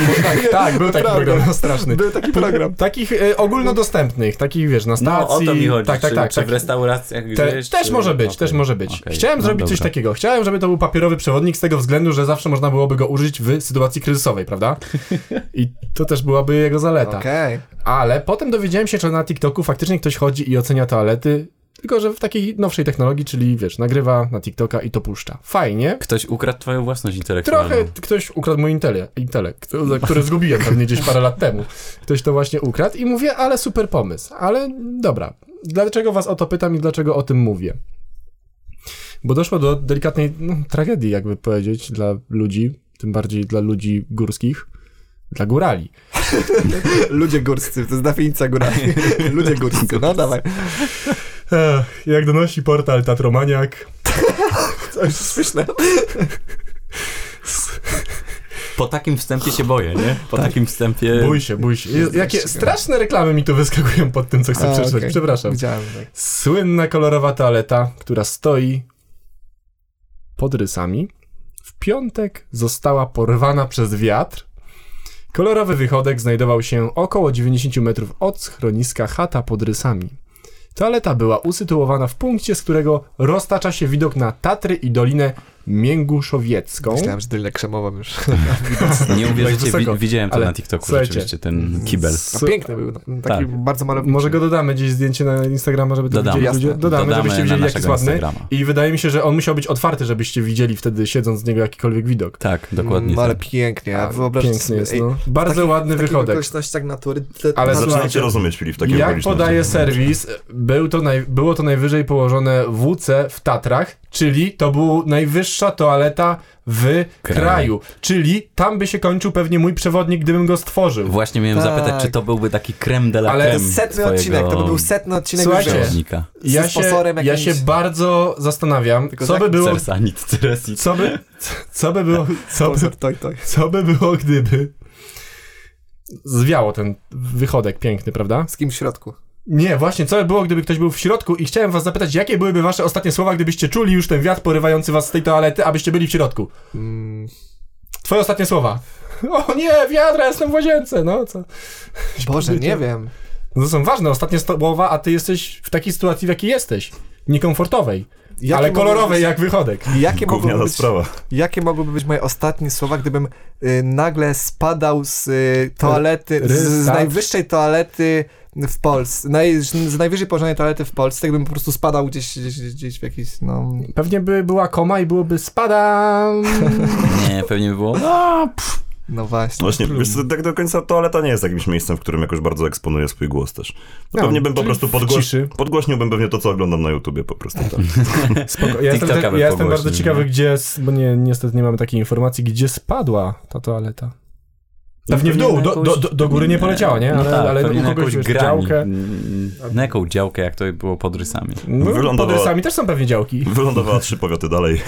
[SPEAKER 3] Tak, był taki
[SPEAKER 2] Naprawdę.
[SPEAKER 3] program, no, straszny.
[SPEAKER 2] Był taki program.
[SPEAKER 3] Takich y, ogólnodostępnych, takich wiesz, na stacji.
[SPEAKER 4] No, o to mi chodzi.
[SPEAKER 3] Tak, tak,
[SPEAKER 4] czy,
[SPEAKER 3] tak.
[SPEAKER 4] czy w
[SPEAKER 3] tak.
[SPEAKER 4] restauracjach
[SPEAKER 3] Te,
[SPEAKER 4] gdzieś,
[SPEAKER 3] też
[SPEAKER 4] czy...
[SPEAKER 3] może być, też
[SPEAKER 4] Okej,
[SPEAKER 3] może być.
[SPEAKER 4] okej,
[SPEAKER 3] Chciałem
[SPEAKER 4] no
[SPEAKER 3] zrobić coś
[SPEAKER 4] dobra.
[SPEAKER 3] takiego. Chciałem, żeby to był papierowy przewodnik z tego względu, że zawsze można byłoby go użyć w sytuacji kryzysowej,
[SPEAKER 4] (laughs)
[SPEAKER 3] prawda? I to też byłaby jego zaleta.
[SPEAKER 2] Okej.
[SPEAKER 3] Ale potem dowiedziałem się, że na TikToku faktycznie ktoś chodzi i ocenia toalety, tylko że w takiej nowszej technologii, czyli wiesz, nagrywa na TikToka i to puszcza. Fajnie.
[SPEAKER 4] Ktoś ukradł twoją własność intelektualną.
[SPEAKER 3] Trochę ktoś ukradł mój intele, intelekt, który zgubiłem pewnie gdzieś parę lat temu. Ktoś to właśnie ukradł i mówię, ale super pomysł. Ale dobra, dlaczego was o to pytam i dlaczego o tym mówię? Bo doszło do delikatnej no, tragedii, jakby powiedzieć, dla ludzi, tym bardziej dla ludzi górskich, dla górali.
[SPEAKER 2] Ludzie górscy, to jest definicja górali. Ludzie górscy, no dawaj.
[SPEAKER 3] Ech, jak donosi portal Tatromaniak,
[SPEAKER 2] To już słyszne.
[SPEAKER 4] Po takim wstępie się boję, nie? Po takim
[SPEAKER 2] Y,
[SPEAKER 4] wstępie...
[SPEAKER 3] Tak. Bój się, bój się. Je- Jakie straszne reklamy mi tu wyskakują pod tym, co chcę
[SPEAKER 2] A,
[SPEAKER 3] przeczytać.
[SPEAKER 2] okej.
[SPEAKER 3] Przepraszam.
[SPEAKER 2] Widziałem. tak.
[SPEAKER 3] Słynna kolorowa toaleta, która stoi pod rysami. W piątek została porwana przez wiatr. Kolorowy wychodek znajdował się około 90 metrów od schroniska chata pod rysami. Toaleta była usytuowana w punkcie, z którego roztacza się widok na Tatry i Dolinę Mięguszowiecką.
[SPEAKER 2] Myślałem, że tyle krzemowam już.
[SPEAKER 3] (laughs)
[SPEAKER 4] Nie uwierzycie,
[SPEAKER 3] wysoko.
[SPEAKER 4] wi- widziałem to
[SPEAKER 3] Ale
[SPEAKER 4] na TikToku
[SPEAKER 3] słuchajcie.
[SPEAKER 4] rzeczywiście, ten kibel.
[SPEAKER 2] A piękny był, no, taki
[SPEAKER 4] Tak.
[SPEAKER 2] bardzo malowniczy.
[SPEAKER 3] Może go dodamy gdzieś zdjęcie na Instagrama, żeby to
[SPEAKER 4] Dodamy.
[SPEAKER 3] widzieli ludzie.
[SPEAKER 2] Jasne.
[SPEAKER 3] Dodamy, żebyście widzieli
[SPEAKER 4] na
[SPEAKER 3] jaki jest
[SPEAKER 4] naszego
[SPEAKER 3] ładny.
[SPEAKER 4] Instagrama.
[SPEAKER 3] I wydaje mi się, że on musiał być otwarty, żebyście widzieli wtedy siedząc z niego jakikolwiek widok.
[SPEAKER 4] Tak, dokładnie
[SPEAKER 2] Mm, Ale
[SPEAKER 4] tak.
[SPEAKER 2] pięknie, a wyobraźcie
[SPEAKER 3] Piękny
[SPEAKER 2] sobie.
[SPEAKER 3] jest,
[SPEAKER 2] ej,
[SPEAKER 3] no. Bardzo ładny
[SPEAKER 2] takiego
[SPEAKER 3] wychodek.
[SPEAKER 2] okolicznościach natury. te-
[SPEAKER 3] Ale
[SPEAKER 2] ta-
[SPEAKER 1] Zaczynacie
[SPEAKER 3] słuchajcie,
[SPEAKER 1] rozumieć, Filip, takie
[SPEAKER 3] Jak
[SPEAKER 1] okoliczności.
[SPEAKER 3] podaje serwis, był to naj, było to najwyżej położone WC w Tatrach, czyli to była najwyższa toaleta w kraju. Czyli tam by się kończył pewnie mój przewodnik, gdybym go stworzył.
[SPEAKER 4] Właśnie miałem
[SPEAKER 2] Tak.
[SPEAKER 4] zapytać, czy to byłby taki krem de la
[SPEAKER 3] Ale
[SPEAKER 4] creme
[SPEAKER 2] Setny
[SPEAKER 4] twojego
[SPEAKER 2] odcinek, to by był setny odcinek
[SPEAKER 3] Słuchajcie,
[SPEAKER 2] już.
[SPEAKER 4] przewodnika.
[SPEAKER 3] Ja się,
[SPEAKER 2] sponsorem
[SPEAKER 3] ja
[SPEAKER 2] jakimś.
[SPEAKER 3] się bardzo zastanawiam,
[SPEAKER 2] Tylko
[SPEAKER 3] co
[SPEAKER 2] jak-
[SPEAKER 3] by było...
[SPEAKER 4] Sersa, nic, teraz nic.
[SPEAKER 3] Co by, co by było... Co by,
[SPEAKER 2] Sponsor, toj, toj.
[SPEAKER 3] Co by było, gdyby. Zwiało ten wychodek piękny, prawda?
[SPEAKER 2] Z kim w środku.
[SPEAKER 3] Nie, właśnie, co by było, gdyby ktoś był w środku i chciałem was zapytać, jakie byłyby wasze ostatnie słowa, gdybyście czuli już ten wiatr porywający was z tej toalety, abyście byli w środku?
[SPEAKER 2] Mm,
[SPEAKER 3] Twoje ostatnie słowa. (laughs) O nie, wiadra, jestem w łazience, no co?
[SPEAKER 2] Boże, nie wiem.
[SPEAKER 3] No to są ważne ostatnie słowa, a ty jesteś w takiej sytuacji, w jakiej jesteś. Niekomfortowej,
[SPEAKER 2] Jakie
[SPEAKER 3] ale
[SPEAKER 2] mogą
[SPEAKER 3] kolorowej
[SPEAKER 2] być-
[SPEAKER 3] jak wychodek.
[SPEAKER 2] Jakie mogłyby,
[SPEAKER 1] Gówniana
[SPEAKER 2] być,
[SPEAKER 1] sprawa.
[SPEAKER 2] jakie mogłyby być moje ostatnie słowa, gdybym y, nagle spadał z y, toalety, z, z
[SPEAKER 3] Rysa.
[SPEAKER 2] najwyższej toalety w Polsce, naj, z najwyżej położonej toalety w Polsce, gdybym po prostu spadał gdzieś, gdzieś, gdzieś w jakiś, no...
[SPEAKER 3] Pewnie by była koma i byłoby spadam.
[SPEAKER 4] Nie, pewnie by było... No, A, pff,
[SPEAKER 2] No właśnie.
[SPEAKER 1] Właśnie, wiesz, co, tak do końca toaleta nie jest jakimś miejscem, w którym jakoś bardzo eksponuję swój głos też. No,
[SPEAKER 3] No,
[SPEAKER 1] pewnie bym po
[SPEAKER 3] czyli
[SPEAKER 1] prostu
[SPEAKER 3] w
[SPEAKER 1] podgłoś...
[SPEAKER 3] ciszy.
[SPEAKER 1] podgłośniłbym pewnie to, co oglądam na YouTubie po prostu.
[SPEAKER 3] (laughs)
[SPEAKER 1] Tak.
[SPEAKER 3] Spoko. Ja, jestem,
[SPEAKER 4] TikToka
[SPEAKER 3] te-
[SPEAKER 4] bym
[SPEAKER 3] ja jestem
[SPEAKER 4] pogłośnił,
[SPEAKER 3] bardzo ciekawy,
[SPEAKER 4] nie?
[SPEAKER 3] gdzie, s- bo nie, niestety nie mamy takiej informacji, gdzie spadła ta toaleta. Pewnie w dół, do, do, do, do góry nie poleciała, nie?
[SPEAKER 4] No
[SPEAKER 3] Ale,
[SPEAKER 4] tak,
[SPEAKER 3] ale
[SPEAKER 4] pewnie
[SPEAKER 3] u
[SPEAKER 4] na
[SPEAKER 3] kogoś
[SPEAKER 4] jakąś
[SPEAKER 3] wiesz,
[SPEAKER 4] grani.
[SPEAKER 3] działkę.
[SPEAKER 4] Mm, Na jaką działkę, jak to było pod rysami?
[SPEAKER 3] No, pod
[SPEAKER 1] Wylądowała.
[SPEAKER 3] rysami też są pewnie działki.
[SPEAKER 1] Wylądowała trzy powiaty dalej.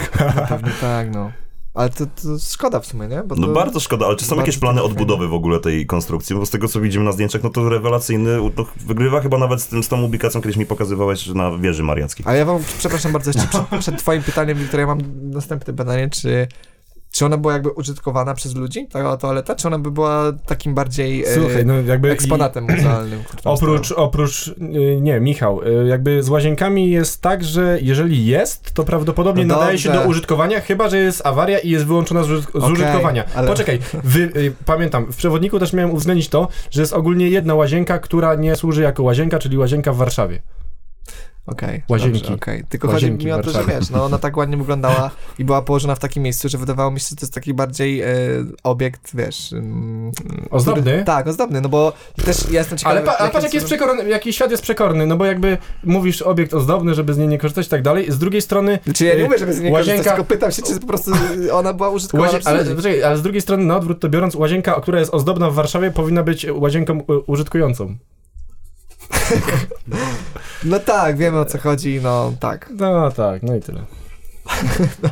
[SPEAKER 2] Pewnie tak, no. Ale to, to szkoda w sumie, nie? Bo
[SPEAKER 1] No
[SPEAKER 2] to...
[SPEAKER 1] bardzo szkoda, ale czy są
[SPEAKER 2] bardzo
[SPEAKER 1] jakieś plany
[SPEAKER 2] to fajne.
[SPEAKER 1] odbudowy w ogóle tej konstrukcji? Bo z tego, co widzimy na zdjęciach, no to rewelacyjny, no, wygrywa chyba nawet z, tym, z tą ubikacją, kiedyś mi pokazywałeś że na wieży mariackiej.
[SPEAKER 2] Ale ja wam, przepraszam bardzo, jeszcze przed,
[SPEAKER 1] (laughs)
[SPEAKER 2] przed twoim pytaniem, Wiktor, ja mam następne pytanie, czy, czy ona była jakby użytkowana przez ludzi, ta toaleta, czy ona by była takim bardziej e,
[SPEAKER 3] Słuchaj, no jakby... i-
[SPEAKER 2] eksponatem muzealnym? który tam
[SPEAKER 3] Oprócz, oprócz, y, nie, Michał, y, jakby z łazienkami jest tak, że jeżeli jest, to prawdopodobnie
[SPEAKER 2] No
[SPEAKER 3] nadaje się
[SPEAKER 2] dobrze.
[SPEAKER 3] do użytkowania, chyba że jest awaria i jest wyłączona z, użytk- z
[SPEAKER 2] Okej,
[SPEAKER 3] użytkowania.
[SPEAKER 2] ale-
[SPEAKER 3] Poczekaj, wy, y, pamiętam, w przewodniku też miałem uwzględnić to, że jest ogólnie jedna łazienka, która nie służy jako łazienka, czyli łazienka w Warszawie.
[SPEAKER 2] stał. Okej,
[SPEAKER 3] Łazienki.
[SPEAKER 2] dobrze, okej. Tylko
[SPEAKER 3] Łazienki
[SPEAKER 2] chodzi mi o
[SPEAKER 3] w
[SPEAKER 2] to, że
[SPEAKER 3] Warszawie.
[SPEAKER 2] wiesz, no ona tak ładnie wyglądała i była położona w takim miejscu, że wydawało mi się, że to jest taki bardziej e, obiekt, wiesz... mm,
[SPEAKER 3] Ozdobny?
[SPEAKER 2] tak, ozdobny, no bo też ja jestem ciekawy...
[SPEAKER 3] Ale pa, a patrz, jaki,
[SPEAKER 2] jakie
[SPEAKER 3] jest przekorny, jaki świat jest przekorny, no bo jakby mówisz obiekt ozdobny, żeby z niej nie korzystać i tak dalej, z drugiej strony...
[SPEAKER 2] Znaczy ja nie mówię, żeby z niej
[SPEAKER 3] Łazienka-
[SPEAKER 2] korzystać, tylko pytam się, czy po prostu ona była użytkowana
[SPEAKER 3] Łazie,
[SPEAKER 2] przez
[SPEAKER 3] ale,
[SPEAKER 2] ludzi.
[SPEAKER 3] poczekaj, ale z drugiej strony, na odwrót to biorąc, łazienka, która jest ozdobna w Warszawie, powinna być łazienką y, użytkującą.
[SPEAKER 2] No tak, wiemy o co chodzi, no tak.
[SPEAKER 3] No tak, no i tyle.
[SPEAKER 2] No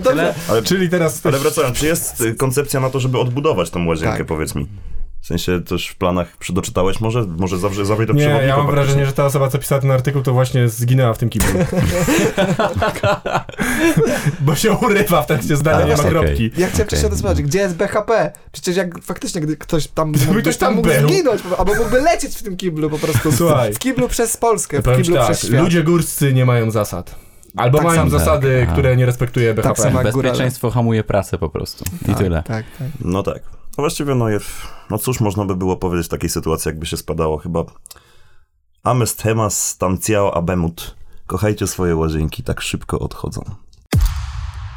[SPEAKER 2] Dobrze.
[SPEAKER 3] Czyli teraz...
[SPEAKER 1] Ale wracając, czy jest y, koncepcja na to, żeby odbudować tą łazienkę,
[SPEAKER 2] Tak.
[SPEAKER 1] powiedz mi? W sensie też w planach przy- doczytałeś może? Może zawsze zawsze do
[SPEAKER 3] Nie,
[SPEAKER 1] przewodnika
[SPEAKER 3] ja mam
[SPEAKER 1] faktycznie.
[SPEAKER 3] wrażenie, że ta osoba, co pisała ten artykuł, to właśnie zginęła w tym kiblu. Bo się urywa w trakcie zdania,
[SPEAKER 4] A,
[SPEAKER 3] nie ma
[SPEAKER 4] Tak, okej.
[SPEAKER 3] kropki.
[SPEAKER 2] Ja chciałem
[SPEAKER 4] Okej.
[SPEAKER 2] wcześniej odesłać, gdzie jest BHP? Przecież jak faktycznie, gdy ktoś tam mógłby,
[SPEAKER 3] ktoś tam
[SPEAKER 2] mógłby
[SPEAKER 3] był.
[SPEAKER 2] zginąć, po- albo mógłby lecieć w tym kiblu po prostu.
[SPEAKER 3] Słuchaj.
[SPEAKER 2] W kiblu przez Polskę, w
[SPEAKER 3] Powiem ci
[SPEAKER 2] kiblu
[SPEAKER 3] tak,
[SPEAKER 2] przez świat.
[SPEAKER 3] ludzie górscy nie mają zasad. Albo
[SPEAKER 2] Tak
[SPEAKER 3] mają
[SPEAKER 2] samo.
[SPEAKER 3] zasady,
[SPEAKER 4] Tak.
[SPEAKER 3] które nie respektuje BHP.
[SPEAKER 2] samo jak górale.
[SPEAKER 4] Bezpieczeństwo hamuje pracę po prostu. I
[SPEAKER 2] tak,
[SPEAKER 4] tyle.
[SPEAKER 2] Tak, tak.
[SPEAKER 1] No tak. No właściwie, no, je- no cóż można by było powiedzieć w takiej sytuacji, jakby się spadało chyba Amest hemas stanciao abemut. Kochajcie swoje łazienki, tak szybko odchodzą.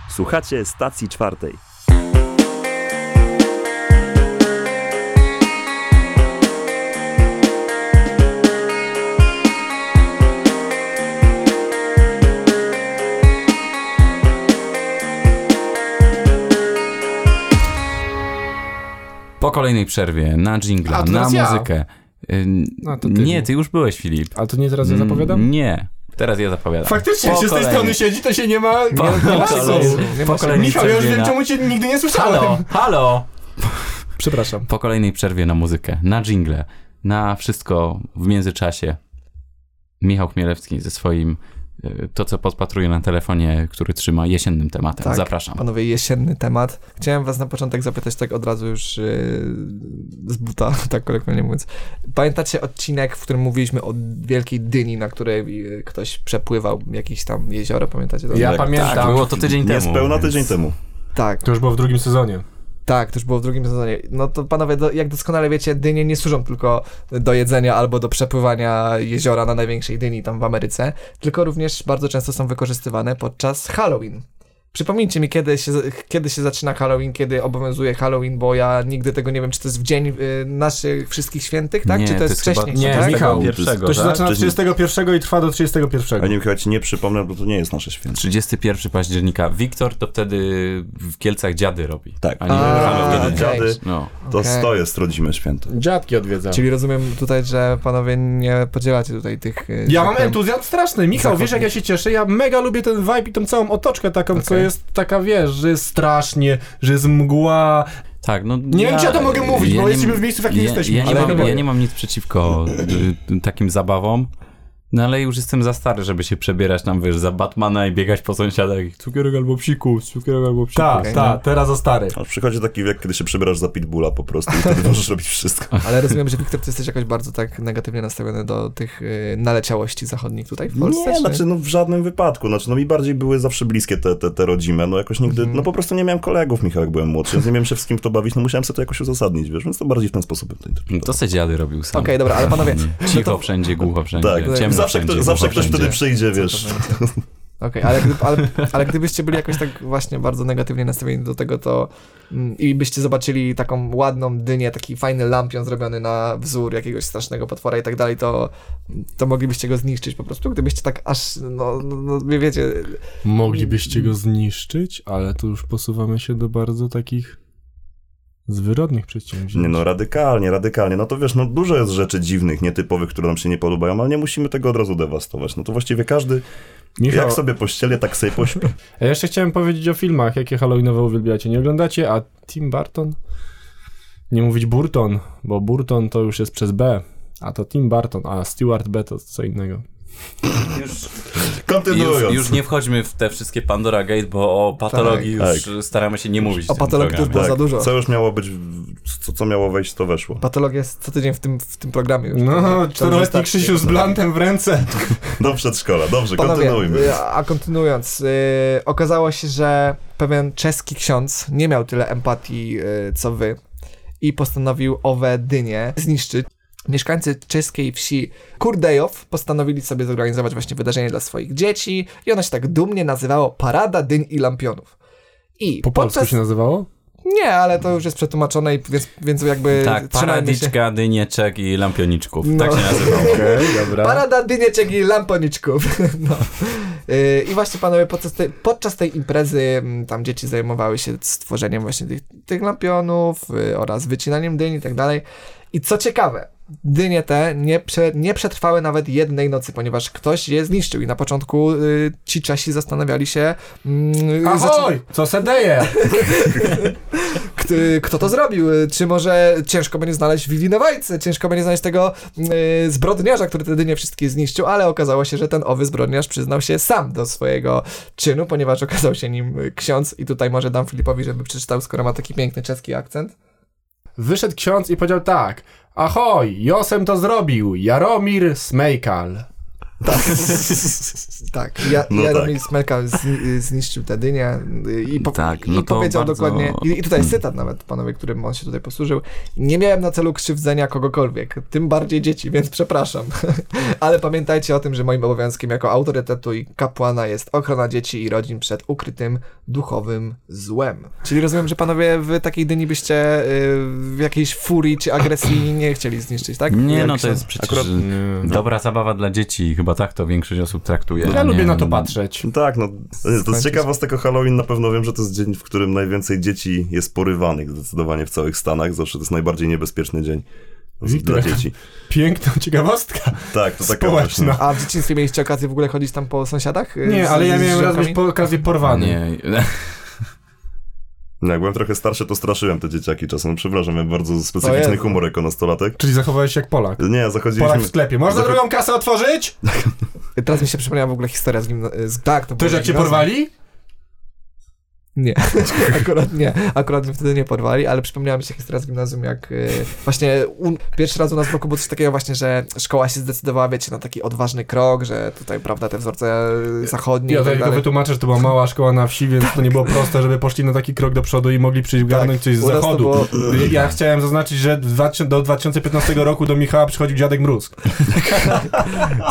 [SPEAKER 5] Słuchacie stacji czwartej.
[SPEAKER 4] Po kolejnej przerwie, na
[SPEAKER 3] A,
[SPEAKER 4] dżingla,
[SPEAKER 3] to
[SPEAKER 4] na
[SPEAKER 3] teraz ja.
[SPEAKER 4] muzykę. Y,
[SPEAKER 3] A, to ty.
[SPEAKER 4] nie, ty już byłeś, Filip.
[SPEAKER 3] A to nie teraz ja
[SPEAKER 4] Mm,
[SPEAKER 3] zapowiadam?
[SPEAKER 4] Nie, teraz ja zapowiadam.
[SPEAKER 3] Faktycznie, jak
[SPEAKER 4] Po
[SPEAKER 3] się z tej
[SPEAKER 4] kolei.
[SPEAKER 3] strony siedzi, to się nie ma...
[SPEAKER 4] Po, po,
[SPEAKER 3] sensu.
[SPEAKER 4] kolei-
[SPEAKER 2] Nie
[SPEAKER 4] po
[SPEAKER 2] ma
[SPEAKER 4] kolejnej
[SPEAKER 3] Michał, ja już
[SPEAKER 4] przerwie
[SPEAKER 3] wiem,
[SPEAKER 4] na-
[SPEAKER 3] czemu cię nigdy nie słyszałem. (laughs)
[SPEAKER 4] Halo, halo!
[SPEAKER 3] Przepraszam.
[SPEAKER 4] Po kolejnej przerwie na muzykę, na dżingle, na wszystko w międzyczasie. Michał Chmielewski ze swoim y, to, co podpatruje na telefonie, który trzyma jesiennym tematem.
[SPEAKER 2] Tak.
[SPEAKER 4] Zapraszam.
[SPEAKER 2] Panowie, jesienny temat. Chciałem was na początek zapytać tak od razu już yy, z buta, (laughs) tak korektnie mówiąc. Pamiętacie odcinek, w którym mówiliśmy o wielkiej dyni, na której yy, ktoś przepływał jakieś tam jezioro, pamiętacie to?
[SPEAKER 3] Ja
[SPEAKER 1] Tak,
[SPEAKER 3] pamiętam.
[SPEAKER 4] Tak, było to tydzień temu.
[SPEAKER 1] Niespełna
[SPEAKER 4] więc-
[SPEAKER 1] tydzień temu.
[SPEAKER 2] Tak.
[SPEAKER 3] To już było w drugim sezonie.
[SPEAKER 2] Tak, to już było w drugim sezonie. No to panowie, do, jak doskonale wiecie, dynie nie służą tylko do jedzenia albo do przepływania jeziora na największej dyni tam w Ameryce, tylko również bardzo często są wykorzystywane podczas Halloween. Przypomnijcie mi, kiedy się, kiedy się zaczyna Halloween, kiedy obowiązuje Halloween, bo ja nigdy tego nie wiem, czy to jest w dzień y, naszych wszystkich świętych, tak?
[SPEAKER 4] Nie,
[SPEAKER 2] czy to
[SPEAKER 4] to
[SPEAKER 2] jest
[SPEAKER 4] jest chyba-
[SPEAKER 2] wcześniej?
[SPEAKER 3] Nie,
[SPEAKER 2] tak?
[SPEAKER 3] Michał,
[SPEAKER 1] pierwszego,
[SPEAKER 3] To się zaczyna
[SPEAKER 1] Czyli-
[SPEAKER 3] 31 i trwa do
[SPEAKER 1] A
[SPEAKER 3] 31.
[SPEAKER 1] nie chyba ci nie przypomnę, bo to nie jest nasze święto.
[SPEAKER 4] 31 października. Wiktor to wtedy w Kielcach dziady robi.
[SPEAKER 1] Tak.
[SPEAKER 4] A nie
[SPEAKER 2] A,
[SPEAKER 4] Halloween.
[SPEAKER 2] okej.
[SPEAKER 1] Dziady,
[SPEAKER 4] No.
[SPEAKER 1] to,
[SPEAKER 2] Okej.
[SPEAKER 1] to jest rodzime święto.
[SPEAKER 3] Dziadki odwiedza.
[SPEAKER 2] Czyli rozumiem tutaj, że panowie nie podzielacie tutaj tych... y,
[SPEAKER 3] Ja
[SPEAKER 2] tak
[SPEAKER 3] mam
[SPEAKER 2] powiem,
[SPEAKER 3] entuzjazm straszny. Michał, wiesz jak ja się cieszę? Ja mega lubię ten vibe i tą całą otoczkę taką, co
[SPEAKER 2] Okej.
[SPEAKER 3] jest taka, wiesz, że jest strasznie, że jest mgła.
[SPEAKER 4] Tak, no,
[SPEAKER 3] Nie wiem, czy ja to mogę mówić, bo
[SPEAKER 4] nie-
[SPEAKER 3] jesteśmy w miejscu, w jakim
[SPEAKER 4] ja,
[SPEAKER 3] jesteśmy,
[SPEAKER 4] Ja nie,
[SPEAKER 3] ale
[SPEAKER 4] mam,
[SPEAKER 3] dobra.
[SPEAKER 4] ja nie mam nic przeciwko y, y, takim zabawom, no ale już jestem za stary, żeby się przebierać tam, wiesz, za Batmana i biegać po sąsiadach i cukierek albo psiku, cukierek albo psiku.
[SPEAKER 3] Tak,
[SPEAKER 2] Okej,
[SPEAKER 3] tak, teraz o stary.
[SPEAKER 1] A przychodzi taki wiek, kiedy się przebierasz za pitbulla po prostu i wtedy (laughs) możesz robić wszystko.
[SPEAKER 2] Ale rozumiem, że Wiktor, ty jesteś jakoś bardzo tak negatywnie nastawiony do tych y, naleciałości zachodnich tutaj w Polsce?
[SPEAKER 1] Nie,
[SPEAKER 2] czy-
[SPEAKER 1] znaczy no w żadnym wypadku. Znaczy no mi bardziej były zawsze bliskie te, te, te rodzime, no jakoś nigdy, no po prostu nie miałem kolegów, Michał, jak byłem młodszy, więc nie miałem się z kim to bawić, no musiałem sobie to jakoś uzasadnić, wiesz, więc to bardziej w ten sposób bym to interpretował.
[SPEAKER 4] To se dziady robił sam.
[SPEAKER 2] Okej, dobra, ale panowie,
[SPEAKER 4] Cicho
[SPEAKER 2] no to-
[SPEAKER 4] wszędzie, głucho wszędzie,
[SPEAKER 1] Tak,
[SPEAKER 4] ciemno
[SPEAKER 1] zawsze,
[SPEAKER 4] wszędzie,
[SPEAKER 1] kto, zawsze
[SPEAKER 4] głucho
[SPEAKER 1] ktoś wtedy
[SPEAKER 4] wszędzie.
[SPEAKER 1] przyjdzie, wiesz.
[SPEAKER 2] Okej, ale, gdy, ale, ale gdybyście byli jakoś tak właśnie bardzo negatywnie nastawieni do tego, to mm, i byście zobaczyli taką ładną dynię, taki fajny lampion zrobiony na wzór jakiegoś strasznego potwora i tak dalej, to, to moglibyście go zniszczyć po prostu, gdybyście tak aż, no, no, no wie- wiecie,
[SPEAKER 3] Moglibyście go zniszczyć, ale tu już posuwamy się do bardzo takich zwyrodnych przedsięwzięć.
[SPEAKER 1] Nie no, radykalnie, radykalnie. No to wiesz, no dużo jest rzeczy dziwnych, nietypowych, które nam się nie podobają, ale nie musimy tego od razu dewastować. No to właściwie każdy,
[SPEAKER 3] Michał,
[SPEAKER 1] jak sobie pościelę, tak sobie pośpi.
[SPEAKER 3] a jeszcze chciałem powiedzieć o filmach, jakie Halloweenowe uwielbiacie. Nie oglądacie, a Tim Burton? Nie mówić Burton, bo Burton to już jest przez B, a to Tim Burton, a Stewart B to co innego.
[SPEAKER 1] Kontynuując.
[SPEAKER 4] Już, już nie wchodźmy w te wszystkie Pandora Gate, bo o patologii
[SPEAKER 1] Tak.
[SPEAKER 4] już staramy się nie mówić.
[SPEAKER 2] O
[SPEAKER 4] w tym
[SPEAKER 2] patologii to
[SPEAKER 4] programie.
[SPEAKER 2] było za dużo.
[SPEAKER 1] Co już miało być, w- co, co miało wejść, to weszło.
[SPEAKER 2] patologia jest co tydzień w tym, w tym programie już. tak, To-
[SPEAKER 3] No,
[SPEAKER 2] to już
[SPEAKER 3] czteroletni
[SPEAKER 2] wystarczy.
[SPEAKER 3] Krzysiu z blantem w ręce.
[SPEAKER 1] Do przedszkola, dobrze, kontynuujmy.
[SPEAKER 2] y,
[SPEAKER 1] (laughs)
[SPEAKER 2] A kontynuując, y, okazało się, że pewien czeski ksiądz nie miał tyle empatii y, co wy i postanowił owe dynie zniszczyć. Mieszkańcy czeskiej wsi Kurdejow postanowili sobie zorganizować właśnie wydarzenie dla swoich dzieci i ono się tak dumnie nazywało Parada Dyń i Lampionów. I
[SPEAKER 3] Po polsku
[SPEAKER 2] podczas...
[SPEAKER 3] się nazywało?
[SPEAKER 2] Nie, ale to już jest przetłumaczone, i więc, więc jakby trzymajmy
[SPEAKER 4] Tak,
[SPEAKER 2] się...
[SPEAKER 4] paradiczka, dynieczek i lampioniczków.
[SPEAKER 2] No.
[SPEAKER 4] Tak się
[SPEAKER 3] (laughs)
[SPEAKER 4] nazywało.
[SPEAKER 3] Okej, dobra.
[SPEAKER 2] Parada dynieczek i lamponiczków. (laughs) No. Yy, I właśnie panowie, podczas tej, podczas tej imprezy mm, tam dzieci zajmowały się y, stworzeniem właśnie tych, tych lampionów yy, oraz wycinaniem dyni i tak dalej. I co ciekawe, dynie te nie, prze, nie przetrwały nawet jednej nocy, ponieważ ktoś je zniszczył i na początku y, ci Czesi zastanawiali się, mm, zaczyna-
[SPEAKER 3] Ahoj! Co se deje?
[SPEAKER 2] kto, kto to zrobił, y, czy może ciężko będzie znaleźć winowajcę, ciężko będzie znaleźć tego y, zbrodniarza, który te dynie wszystkie zniszczył, ale okazało się, że ten owy zbrodniarz przyznał się sam do swojego czynu, ponieważ okazał się nim y, ksiądz i tutaj może dam Filipowi, żeby przeczytał, skoro ma taki piękny czeski akcent.
[SPEAKER 3] Wyszedł ksiądz i powiedział tak. Ahoj, Josem to zrobił, Jaromir Smejkal.
[SPEAKER 2] Tak, ja,
[SPEAKER 1] No
[SPEAKER 2] Jaromir Smelka zni- zniszczył tę dynię y, i, po,
[SPEAKER 4] Tak,
[SPEAKER 2] i
[SPEAKER 4] no to
[SPEAKER 2] powiedział
[SPEAKER 4] bardzo-
[SPEAKER 2] dokładnie, i, i tutaj jest
[SPEAKER 4] Mm.
[SPEAKER 2] cytat nawet, panowie, którym on się tutaj posłużył, nie miałem na celu krzywdzenia kogokolwiek, tym bardziej dzieci, więc przepraszam. (laughs) Ale pamiętajcie o tym, że moim obowiązkiem jako autorytetu i kapłana jest ochrona dzieci i rodzin przed ukrytym duchowym złem. Czyli rozumiem, że panowie w takiej dyni byście y, w jakiejś furii czy
[SPEAKER 4] (clears throat)
[SPEAKER 2] agresji nie chcieli zniszczyć, tak?
[SPEAKER 4] Nie,
[SPEAKER 2] Jak
[SPEAKER 4] no to
[SPEAKER 2] się-
[SPEAKER 4] jest przecież
[SPEAKER 1] Akurat-
[SPEAKER 4] dobra zabawa dla dzieci i chyba tak to większość osób traktuje.
[SPEAKER 3] No. Ja
[SPEAKER 4] a
[SPEAKER 3] lubię
[SPEAKER 4] nie-
[SPEAKER 3] na to patrzeć.
[SPEAKER 1] Tak, no to
[SPEAKER 2] Skończyć.
[SPEAKER 1] jest ciekawostek o Halloween. Na pewno wiem, że to jest dzień, w którym najwięcej dzieci jest porywanych zdecydowanie w całych Stanach. Zawsze to jest najbardziej niebezpieczny dzień z-
[SPEAKER 3] Wiktor.
[SPEAKER 1] dla dzieci.
[SPEAKER 3] Piękna ciekawostka
[SPEAKER 1] Tak, to taka właśnie.
[SPEAKER 3] społeczna.
[SPEAKER 2] A w dzieciństwie mieliście okazję w ogóle chodzić tam po sąsiadach? y,
[SPEAKER 3] Nie,
[SPEAKER 2] z-
[SPEAKER 3] ale ja
[SPEAKER 2] z
[SPEAKER 3] miałem raz
[SPEAKER 2] ziomkami?
[SPEAKER 3] być po okazji porwany.
[SPEAKER 4] Nie, (laughs)
[SPEAKER 1] No, Jak byłem trochę starszy, to straszyłem te dzieciaki czasem. No, przepraszam, miałem bardzo specyficzny
[SPEAKER 2] Jezu.
[SPEAKER 1] humor jako nastolatek.
[SPEAKER 3] Czyli zachowałeś się jak Polak.
[SPEAKER 1] Nie,
[SPEAKER 3] Polak
[SPEAKER 1] zachodziliśmy...
[SPEAKER 3] w sklepie. Można
[SPEAKER 1] Zacho-
[SPEAKER 3] drugą kasę otworzyć?
[SPEAKER 2] Teraz mi się przypomniała w ogóle historia z nim. Z, tak, to było
[SPEAKER 3] Też jak cię
[SPEAKER 2] gimnazjum.
[SPEAKER 3] porwali?
[SPEAKER 2] Nie, (laughs) akurat nie. Akurat mnie wtedy nie porwali, ale przypomniała mi się historia z gimnazjum, jak y, właśnie u, pierwszy raz u nas w roku było coś takiego właśnie, że szkoła się zdecydowała, wiecie, na taki odważny krok, że tutaj, prawda, te wzorce y, zachodnie
[SPEAKER 3] Ja
[SPEAKER 2] i tak
[SPEAKER 3] tutaj tylko (laughs)
[SPEAKER 2] dalej.
[SPEAKER 3] wytłumaczę, że to była mała szkoła na wsi, więc to nie było proste, żeby poszli na taki krok do przodu i mogli przygarnąć
[SPEAKER 2] Tak,
[SPEAKER 3] coś z
[SPEAKER 2] u nas to
[SPEAKER 3] zachodu.
[SPEAKER 2] było-
[SPEAKER 3] Ja- Ja chciałem zaznaczyć, że w 2000 do 2015 roku do Michała przychodził dziadek Mróz.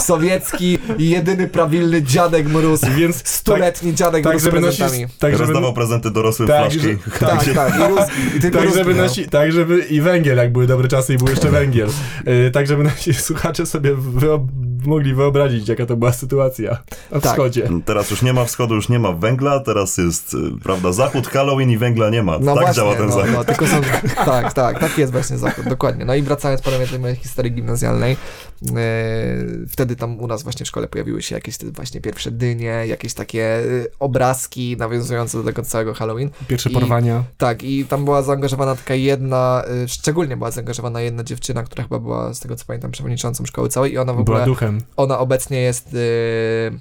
[SPEAKER 2] Sowiecki i jedyny prawilny dziadek mróz.
[SPEAKER 3] Więc
[SPEAKER 2] Stuletni dziadek
[SPEAKER 3] tak,
[SPEAKER 2] mróz z
[SPEAKER 3] żeby nosi,
[SPEAKER 2] prezentami.
[SPEAKER 3] tak, żeby,
[SPEAKER 1] Rozdawał prezenty dorosłym
[SPEAKER 3] Tak,
[SPEAKER 2] (laughs)
[SPEAKER 1] flaszki.
[SPEAKER 3] że-
[SPEAKER 2] Tak,
[SPEAKER 1] Gdzie-
[SPEAKER 2] tak. I, rus, i tylko
[SPEAKER 3] tak,
[SPEAKER 2] ruski
[SPEAKER 3] żeby
[SPEAKER 2] miał.
[SPEAKER 3] nasi, tak, żeby i węgiel, jak były dobre czasy i był jeszcze węgiel. Yy, tak, żeby nasi słuchacze sobie wyob mogli wyobrazić, jaka to była sytuacja na
[SPEAKER 2] Tak.
[SPEAKER 3] wschodzie.
[SPEAKER 1] Teraz już nie ma wschodu, już nie ma węgla, teraz jest, y, prawda, zachód, Halloween i węgla nie ma.
[SPEAKER 2] No
[SPEAKER 1] tak
[SPEAKER 2] właśnie,
[SPEAKER 1] działa ten
[SPEAKER 2] no,
[SPEAKER 1] zachód.
[SPEAKER 2] No, tylko są,
[SPEAKER 1] (laughs)
[SPEAKER 2] tak, tak, tak jest właśnie zachód, dokładnie. No i wracając panowie do mojej historii gimnazjalnej, e, wtedy tam u nas właśnie w szkole pojawiły się jakieś te właśnie pierwsze dynie, jakieś takie e, obrazki nawiązujące do tego całego Halloween.
[SPEAKER 3] Pierwsze
[SPEAKER 2] I-
[SPEAKER 3] porwania.
[SPEAKER 2] Tak, i tam była zaangażowana taka jedna, y, szczególnie była zaangażowana jedna dziewczyna, która chyba była, z tego co pamiętam, przewodniczącą szkoły całej i ona w
[SPEAKER 3] Była
[SPEAKER 2] ogóle,
[SPEAKER 3] duchem.
[SPEAKER 2] ona obecnie jest... y,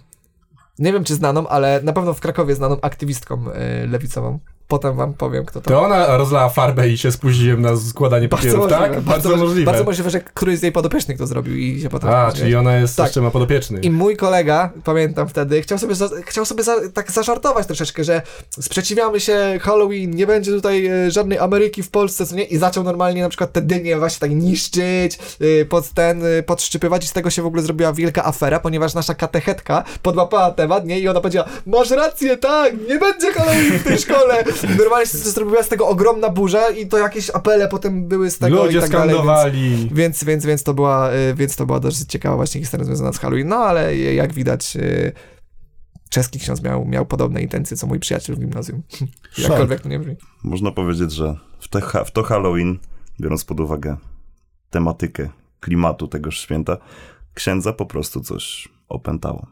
[SPEAKER 2] nie wiem, czy znaną, ale na pewno w Krakowie znaną aktywistką y, lewicową. Potem wam powiem, kto to
[SPEAKER 3] To ona rozlała farbę i się spóźniłem na składanie papierów, tak?
[SPEAKER 2] możliwe,
[SPEAKER 3] bardzo możliwe.
[SPEAKER 2] Bardzo możliwe, że któryś z jej podopiecznych to zrobił i się potem...
[SPEAKER 3] A, czyli ona jest
[SPEAKER 2] Tak.
[SPEAKER 3] jeszcze ma podopieczny.
[SPEAKER 2] I mój kolega, pamiętam wtedy, chciał sobie, za, chciał sobie za, tak zażartować troszeczkę, że sprzeciwiamy się Halloween, nie będzie tutaj e, żadnej Ameryki w Polsce, co nie? I zaczął normalnie na przykład te dynie właśnie tak niszczyć, y, pod ten, y, podszczypywać i z tego się w ogóle zrobiła wielka afera, ponieważ nasza katechetka podłapała temat, nie? I ona powiedziała, masz rację, tak, nie będzie Halloween w tej szkole! I normalnie się zrobiła z tego ogromna burza i to jakieś apele potem były z tego
[SPEAKER 3] Ludzie
[SPEAKER 2] i tak dalej, więc...
[SPEAKER 3] skandowali.
[SPEAKER 2] Więc, więc, więc, to była, y, więc to była dosyć ciekawa właśnie historia związana z Halloween, no ale je- jak widać y, czeski ksiądz miał, miał podobne intencje co mój przyjaciel w gimnazjum. (laughs) Jakkolwiek to nie brzmi.
[SPEAKER 1] Można powiedzieć, że w, te, ha- w to Halloween, biorąc pod uwagę tematykę klimatu tegoż święta, księdza po prostu coś opętało.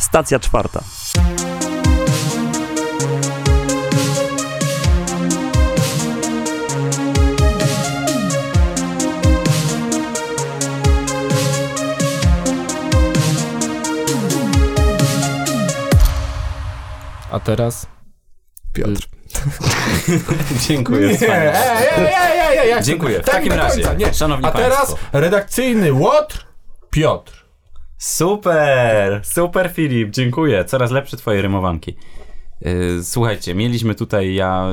[SPEAKER 5] Stacja czwarta.
[SPEAKER 3] A teraz?
[SPEAKER 2] Piotr.
[SPEAKER 4] Y, Dziękuję.
[SPEAKER 3] Nie,
[SPEAKER 4] wspaniale.
[SPEAKER 3] ej, ej, ej, ej, ej, jak to-
[SPEAKER 4] Dziękuję. W
[SPEAKER 3] tak
[SPEAKER 4] takim
[SPEAKER 3] do końca,
[SPEAKER 4] razie,
[SPEAKER 3] nie.
[SPEAKER 4] szanowni
[SPEAKER 3] A teraz
[SPEAKER 4] państwo.
[SPEAKER 3] redakcyjny Łotr Piotr.
[SPEAKER 4] Super! Super Filip, dziękuję. Coraz lepsze twoje rymowanki. Yy, Słuchajcie, mieliśmy tutaj, ja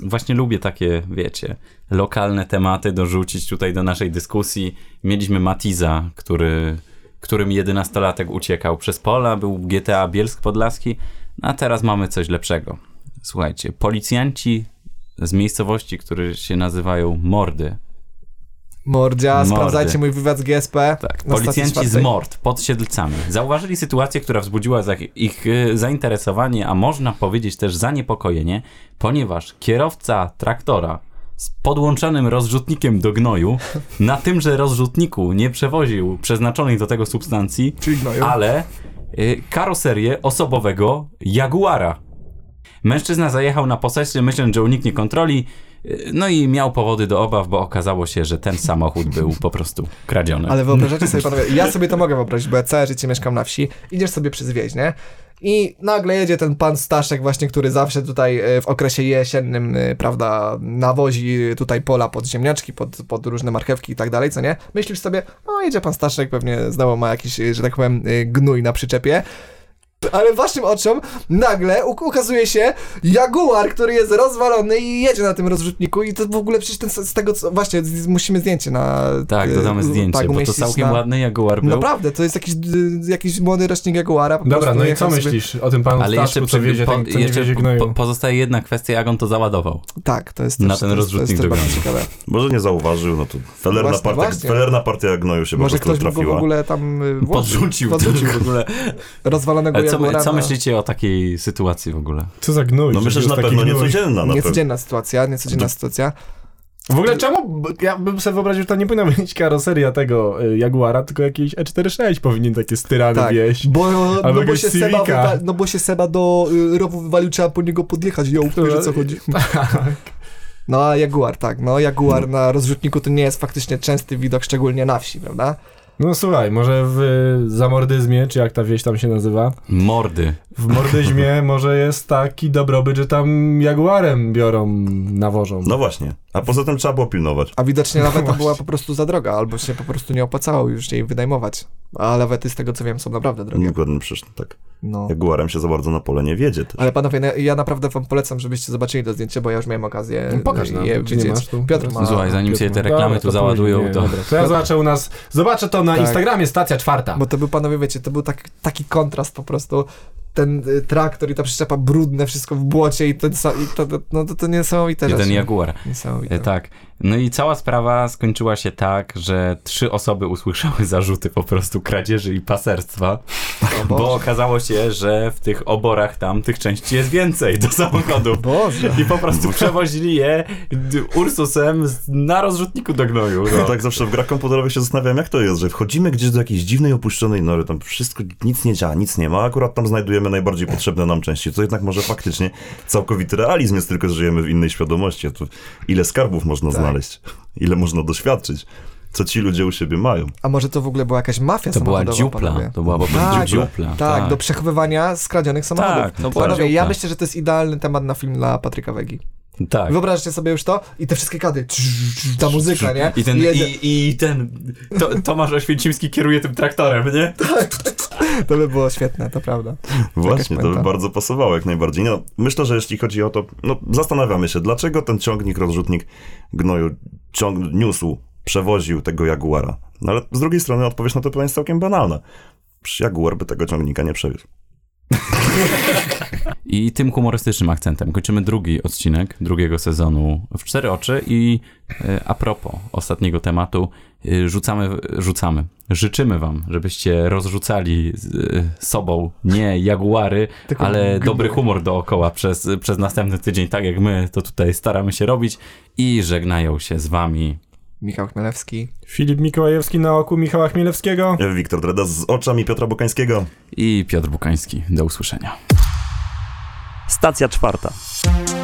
[SPEAKER 4] yy, właśnie lubię takie, wiecie, lokalne tematy dorzucić tutaj do naszej dyskusji. Mieliśmy Matiza, który, którym 11-latek uciekał przez pola, był GTA Bielsk Podlaski, no a teraz mamy coś lepszego. Słuchajcie, policjanci z miejscowości, które się nazywają Mordy,
[SPEAKER 2] Mordzia,
[SPEAKER 4] Mordy.
[SPEAKER 2] sprawdzajcie mój wywiad z GSP.
[SPEAKER 4] Tak,
[SPEAKER 2] na stacji
[SPEAKER 4] policjanci z
[SPEAKER 2] czwartej.
[SPEAKER 4] mord pod Siedlcami zauważyli sytuację, która wzbudziła za- ich e, zainteresowanie, a można powiedzieć też zaniepokojenie, ponieważ kierowca traktora z podłączonym rozrzutnikiem do gnoju, na tymże rozrzutniku nie przewoził przeznaczonej do tego substancji,
[SPEAKER 2] Czyli gnoju.
[SPEAKER 4] ale y, karoserię osobowego Jaguara. Mężczyzna zajechał na posesję, myśląc, że uniknie kontroli, y, no i miał powody do obaw, bo okazało się, że ten samochód był po prostu kradziony.
[SPEAKER 2] Ale wyobrażacie sobie panowie, ja sobie to mogę wyobrazić, bo ja całe życie mieszkam na wsi, idziesz sobie przez wieś, nie? I nagle jedzie ten pan Staszek właśnie, który zawsze tutaj e, w okresie jesiennym, e, prawda, nawozi tutaj pola pod ziemniaczki, pod, pod różne marchewki i tak dalej, co nie? Myślisz sobie, no jedzie pan Staszek, pewnie znowu ma jakiś, e, że tak powiem, e, gnój na przyczepie. P- Ale waszym oczom nagle u- ukazuje się jaguar, który jest rozwalony i jedzie na tym rozrzutniku i to w ogóle przecież ten, z z tego, co, właśnie, z- musimy zdjęcie na...
[SPEAKER 4] Tak,
[SPEAKER 3] Y,
[SPEAKER 2] e,
[SPEAKER 4] dodamy
[SPEAKER 2] u-
[SPEAKER 4] zdjęcie,
[SPEAKER 2] tak,
[SPEAKER 4] bo to
[SPEAKER 2] umieścić
[SPEAKER 4] całkiem
[SPEAKER 2] na-
[SPEAKER 4] ładny Jaguar był.
[SPEAKER 2] Naprawdę, to jest jakiś, d- jakiś młody rocznik Jaguara. Po
[SPEAKER 3] Dobra,
[SPEAKER 2] prostu
[SPEAKER 3] no i
[SPEAKER 2] jechał
[SPEAKER 3] co
[SPEAKER 2] sobie-
[SPEAKER 3] myślisz o tym panu
[SPEAKER 4] Ale jeszcze,
[SPEAKER 3] Staszku, co
[SPEAKER 4] przy,
[SPEAKER 3] wiezie,
[SPEAKER 4] po,
[SPEAKER 3] ten, co nie
[SPEAKER 4] jeszcze
[SPEAKER 3] wiezie
[SPEAKER 4] po,
[SPEAKER 3] gnoju? No
[SPEAKER 4] pozostaje jedna kwestia, jak on to załadował.
[SPEAKER 2] Tak, to jest
[SPEAKER 4] Na
[SPEAKER 2] też,
[SPEAKER 4] ten
[SPEAKER 2] to jest-
[SPEAKER 4] rozrzutnik
[SPEAKER 2] to jest też
[SPEAKER 4] drogami.
[SPEAKER 2] bardzo ciekawe.
[SPEAKER 1] Może nie zauważył, no to felerna,
[SPEAKER 2] Właśnie,
[SPEAKER 1] partia,
[SPEAKER 2] właśnie.
[SPEAKER 1] felerna partia gnoju się
[SPEAKER 2] Może
[SPEAKER 1] po prostu
[SPEAKER 2] ktoś by go w
[SPEAKER 1] trafiła.
[SPEAKER 2] ogóle tam y, włożył,
[SPEAKER 4] Podrzucił,
[SPEAKER 2] podrzucił
[SPEAKER 4] to w ogóle.
[SPEAKER 2] rozwalonego
[SPEAKER 4] Ale co, my-
[SPEAKER 2] Jaguara.
[SPEAKER 4] co
[SPEAKER 2] na-
[SPEAKER 4] myślicie o takiej sytuacji w ogóle?
[SPEAKER 3] Co za gnój?
[SPEAKER 1] No myślę, że na
[SPEAKER 3] jest taki
[SPEAKER 1] pewno
[SPEAKER 3] gnój.
[SPEAKER 4] No,
[SPEAKER 1] niecodzienna. Na pewno.
[SPEAKER 2] Niecodzienna sytuacja, niecodzienna sytuacja.
[SPEAKER 3] W ogóle czemu? b- Ja bym sobie wyobraził, że to nie powinna (laughs) być karoseria tego y, Jaguara, tylko jakiś E46 powinien takie styrany
[SPEAKER 2] Tak,
[SPEAKER 3] wieść.
[SPEAKER 4] (laughs)
[SPEAKER 2] bo,
[SPEAKER 3] Albo
[SPEAKER 2] no, bo
[SPEAKER 3] jakiegoś
[SPEAKER 2] się Seba
[SPEAKER 3] Civica.
[SPEAKER 2] wywa- no bo się Seba do y, rowu wywalił, trzeba po niego podjechać, ją, wiesz o co chodzi.
[SPEAKER 3] Tak.
[SPEAKER 2] No a Jaguar, tak, no Jaguar na rozrzutniku to nie jest faktycznie częsty widok, szczególnie na wsi, prawda?
[SPEAKER 3] No słuchaj, może w y, zamordyzmie, czy jak ta wieś tam się nazywa,
[SPEAKER 4] Mordy.
[SPEAKER 3] w
[SPEAKER 4] (laughs)
[SPEAKER 3] mordyzmie może jest taki dobrobyt, że tam Jaguarem biorą, nawożą.
[SPEAKER 1] No właśnie. A poza tym trzeba było pilnować.
[SPEAKER 2] A widocznie
[SPEAKER 3] No
[SPEAKER 2] laweta
[SPEAKER 3] właśnie.
[SPEAKER 2] była po prostu za droga, albo się po prostu nie opłacało już jej wynajmować. A lawety, z tego co wiem, są naprawdę drogie.
[SPEAKER 1] Dokładnie przecież tak.
[SPEAKER 2] No.
[SPEAKER 1] Jaguarem się za bardzo na pole nie wiedzie też.
[SPEAKER 2] Ale panowie, no, ja naprawdę wam polecam, żebyście zobaczyli to zdjęcie, bo ja już miałem okazję
[SPEAKER 3] No pokaż
[SPEAKER 2] e,
[SPEAKER 3] nam,
[SPEAKER 2] je
[SPEAKER 3] czy nie
[SPEAKER 2] widzieć.
[SPEAKER 3] masz tu?
[SPEAKER 2] Piotr ma...
[SPEAKER 4] Słuchaj, zanim się te reklamy
[SPEAKER 3] Dobra,
[SPEAKER 4] tu
[SPEAKER 3] to
[SPEAKER 4] załadują,
[SPEAKER 3] później,
[SPEAKER 4] to...
[SPEAKER 3] Dobra, to ja zobaczę u nas, zobaczę to na
[SPEAKER 2] Tak.
[SPEAKER 3] Instagramie, stacja czwarta.
[SPEAKER 2] Bo to był, panowie, wiecie, to był tak, taki kontrast po prostu. Ten y, traktor i ta przyczepa brudne, wszystko w błocie i ten sam... I to, to, no to, to niesamowite
[SPEAKER 4] (laughs) Jeden
[SPEAKER 2] rzeczy.
[SPEAKER 4] Jaguar.
[SPEAKER 2] Niesamowite.
[SPEAKER 4] E, Tak. No i cała sprawa skończyła się tak, że trzy osoby usłyszały zarzuty po prostu kradzieży i paserstwa,
[SPEAKER 2] O Boże.
[SPEAKER 4] bo okazało się, że w tych oborach tam tych części jest więcej do samochodów.
[SPEAKER 2] Boże.
[SPEAKER 4] I po prostu przewozili je d- Ursusem z- na rozrzutniku do gnoju.
[SPEAKER 1] No.
[SPEAKER 4] No.
[SPEAKER 1] Tak zawsze w grach komputerowych się zastanawiam, jak to jest, że wchodzimy gdzieś do jakiejś dziwnej, opuszczonej nory, tam wszystko, nic nie działa, nic nie ma, a akurat tam znajdujemy najbardziej potrzebne nam części, to jednak może faktycznie całkowity realizm jest, tylko że żyjemy w innej świadomości, a tu ile skarbów można znaleźć, ile można doświadczyć, co ci ludzie u siebie mają.
[SPEAKER 2] A może to w ogóle była jakaś mafia
[SPEAKER 4] To była
[SPEAKER 2] samochodowa,
[SPEAKER 4] dziupla.
[SPEAKER 2] panowie?
[SPEAKER 4] To była po prostu
[SPEAKER 2] Tak,
[SPEAKER 4] dziupla.
[SPEAKER 2] Tak, do przechowywania skradzionych samochodów.
[SPEAKER 4] Tak, to była
[SPEAKER 2] Panowie, ja
[SPEAKER 4] dziupla.
[SPEAKER 2] myślę, że to jest idealny temat na film dla Patryka Wegi.
[SPEAKER 4] tak.
[SPEAKER 2] Wyobraźcie sobie już to i te wszystkie kady, ta muzyka, nie?
[SPEAKER 4] I ten,
[SPEAKER 2] Jedzie- (laughs)
[SPEAKER 4] i, i ten to, Tomasz Oświęcimski kieruje tym traktorem, nie?
[SPEAKER 2] To by było świetne, to prawda.
[SPEAKER 1] Właśnie, to by
[SPEAKER 2] pęta.
[SPEAKER 1] bardzo pasowało jak najbardziej. No, myślę, że jeśli chodzi o to, no, zastanawiamy się, dlaczego ten ciągnik, rozrzutnik gnoju ciąg, niósł, przewoził tego jaguara. No ale z drugiej strony odpowiedź na to pytanie jest całkiem banalna. Przecież Jaguar by tego ciągnika nie przewiózł.
[SPEAKER 4] I tym humorystycznym akcentem kończymy drugi odcinek drugiego sezonu w cztery oczy i e, a propos ostatniego tematu e, rzucamy, rzucamy. Życzymy wam, żebyście rozrzucali z, e, sobą nie jaguary,
[SPEAKER 2] Tylko
[SPEAKER 4] ale
[SPEAKER 2] gnoje.
[SPEAKER 4] dobry humor dookoła przez, przez następny tydzień, tak jak my to tutaj staramy się robić i żegnają się z wami.
[SPEAKER 2] Michał Chmielewski.
[SPEAKER 3] Filip Mikołajewski na oku Michała Chmielewskiego.
[SPEAKER 1] Wiktor Dredas z oczami Piotra Bokańskiego.
[SPEAKER 4] I Piotr Bukański, do usłyszenia.
[SPEAKER 5] Stacja czwarta.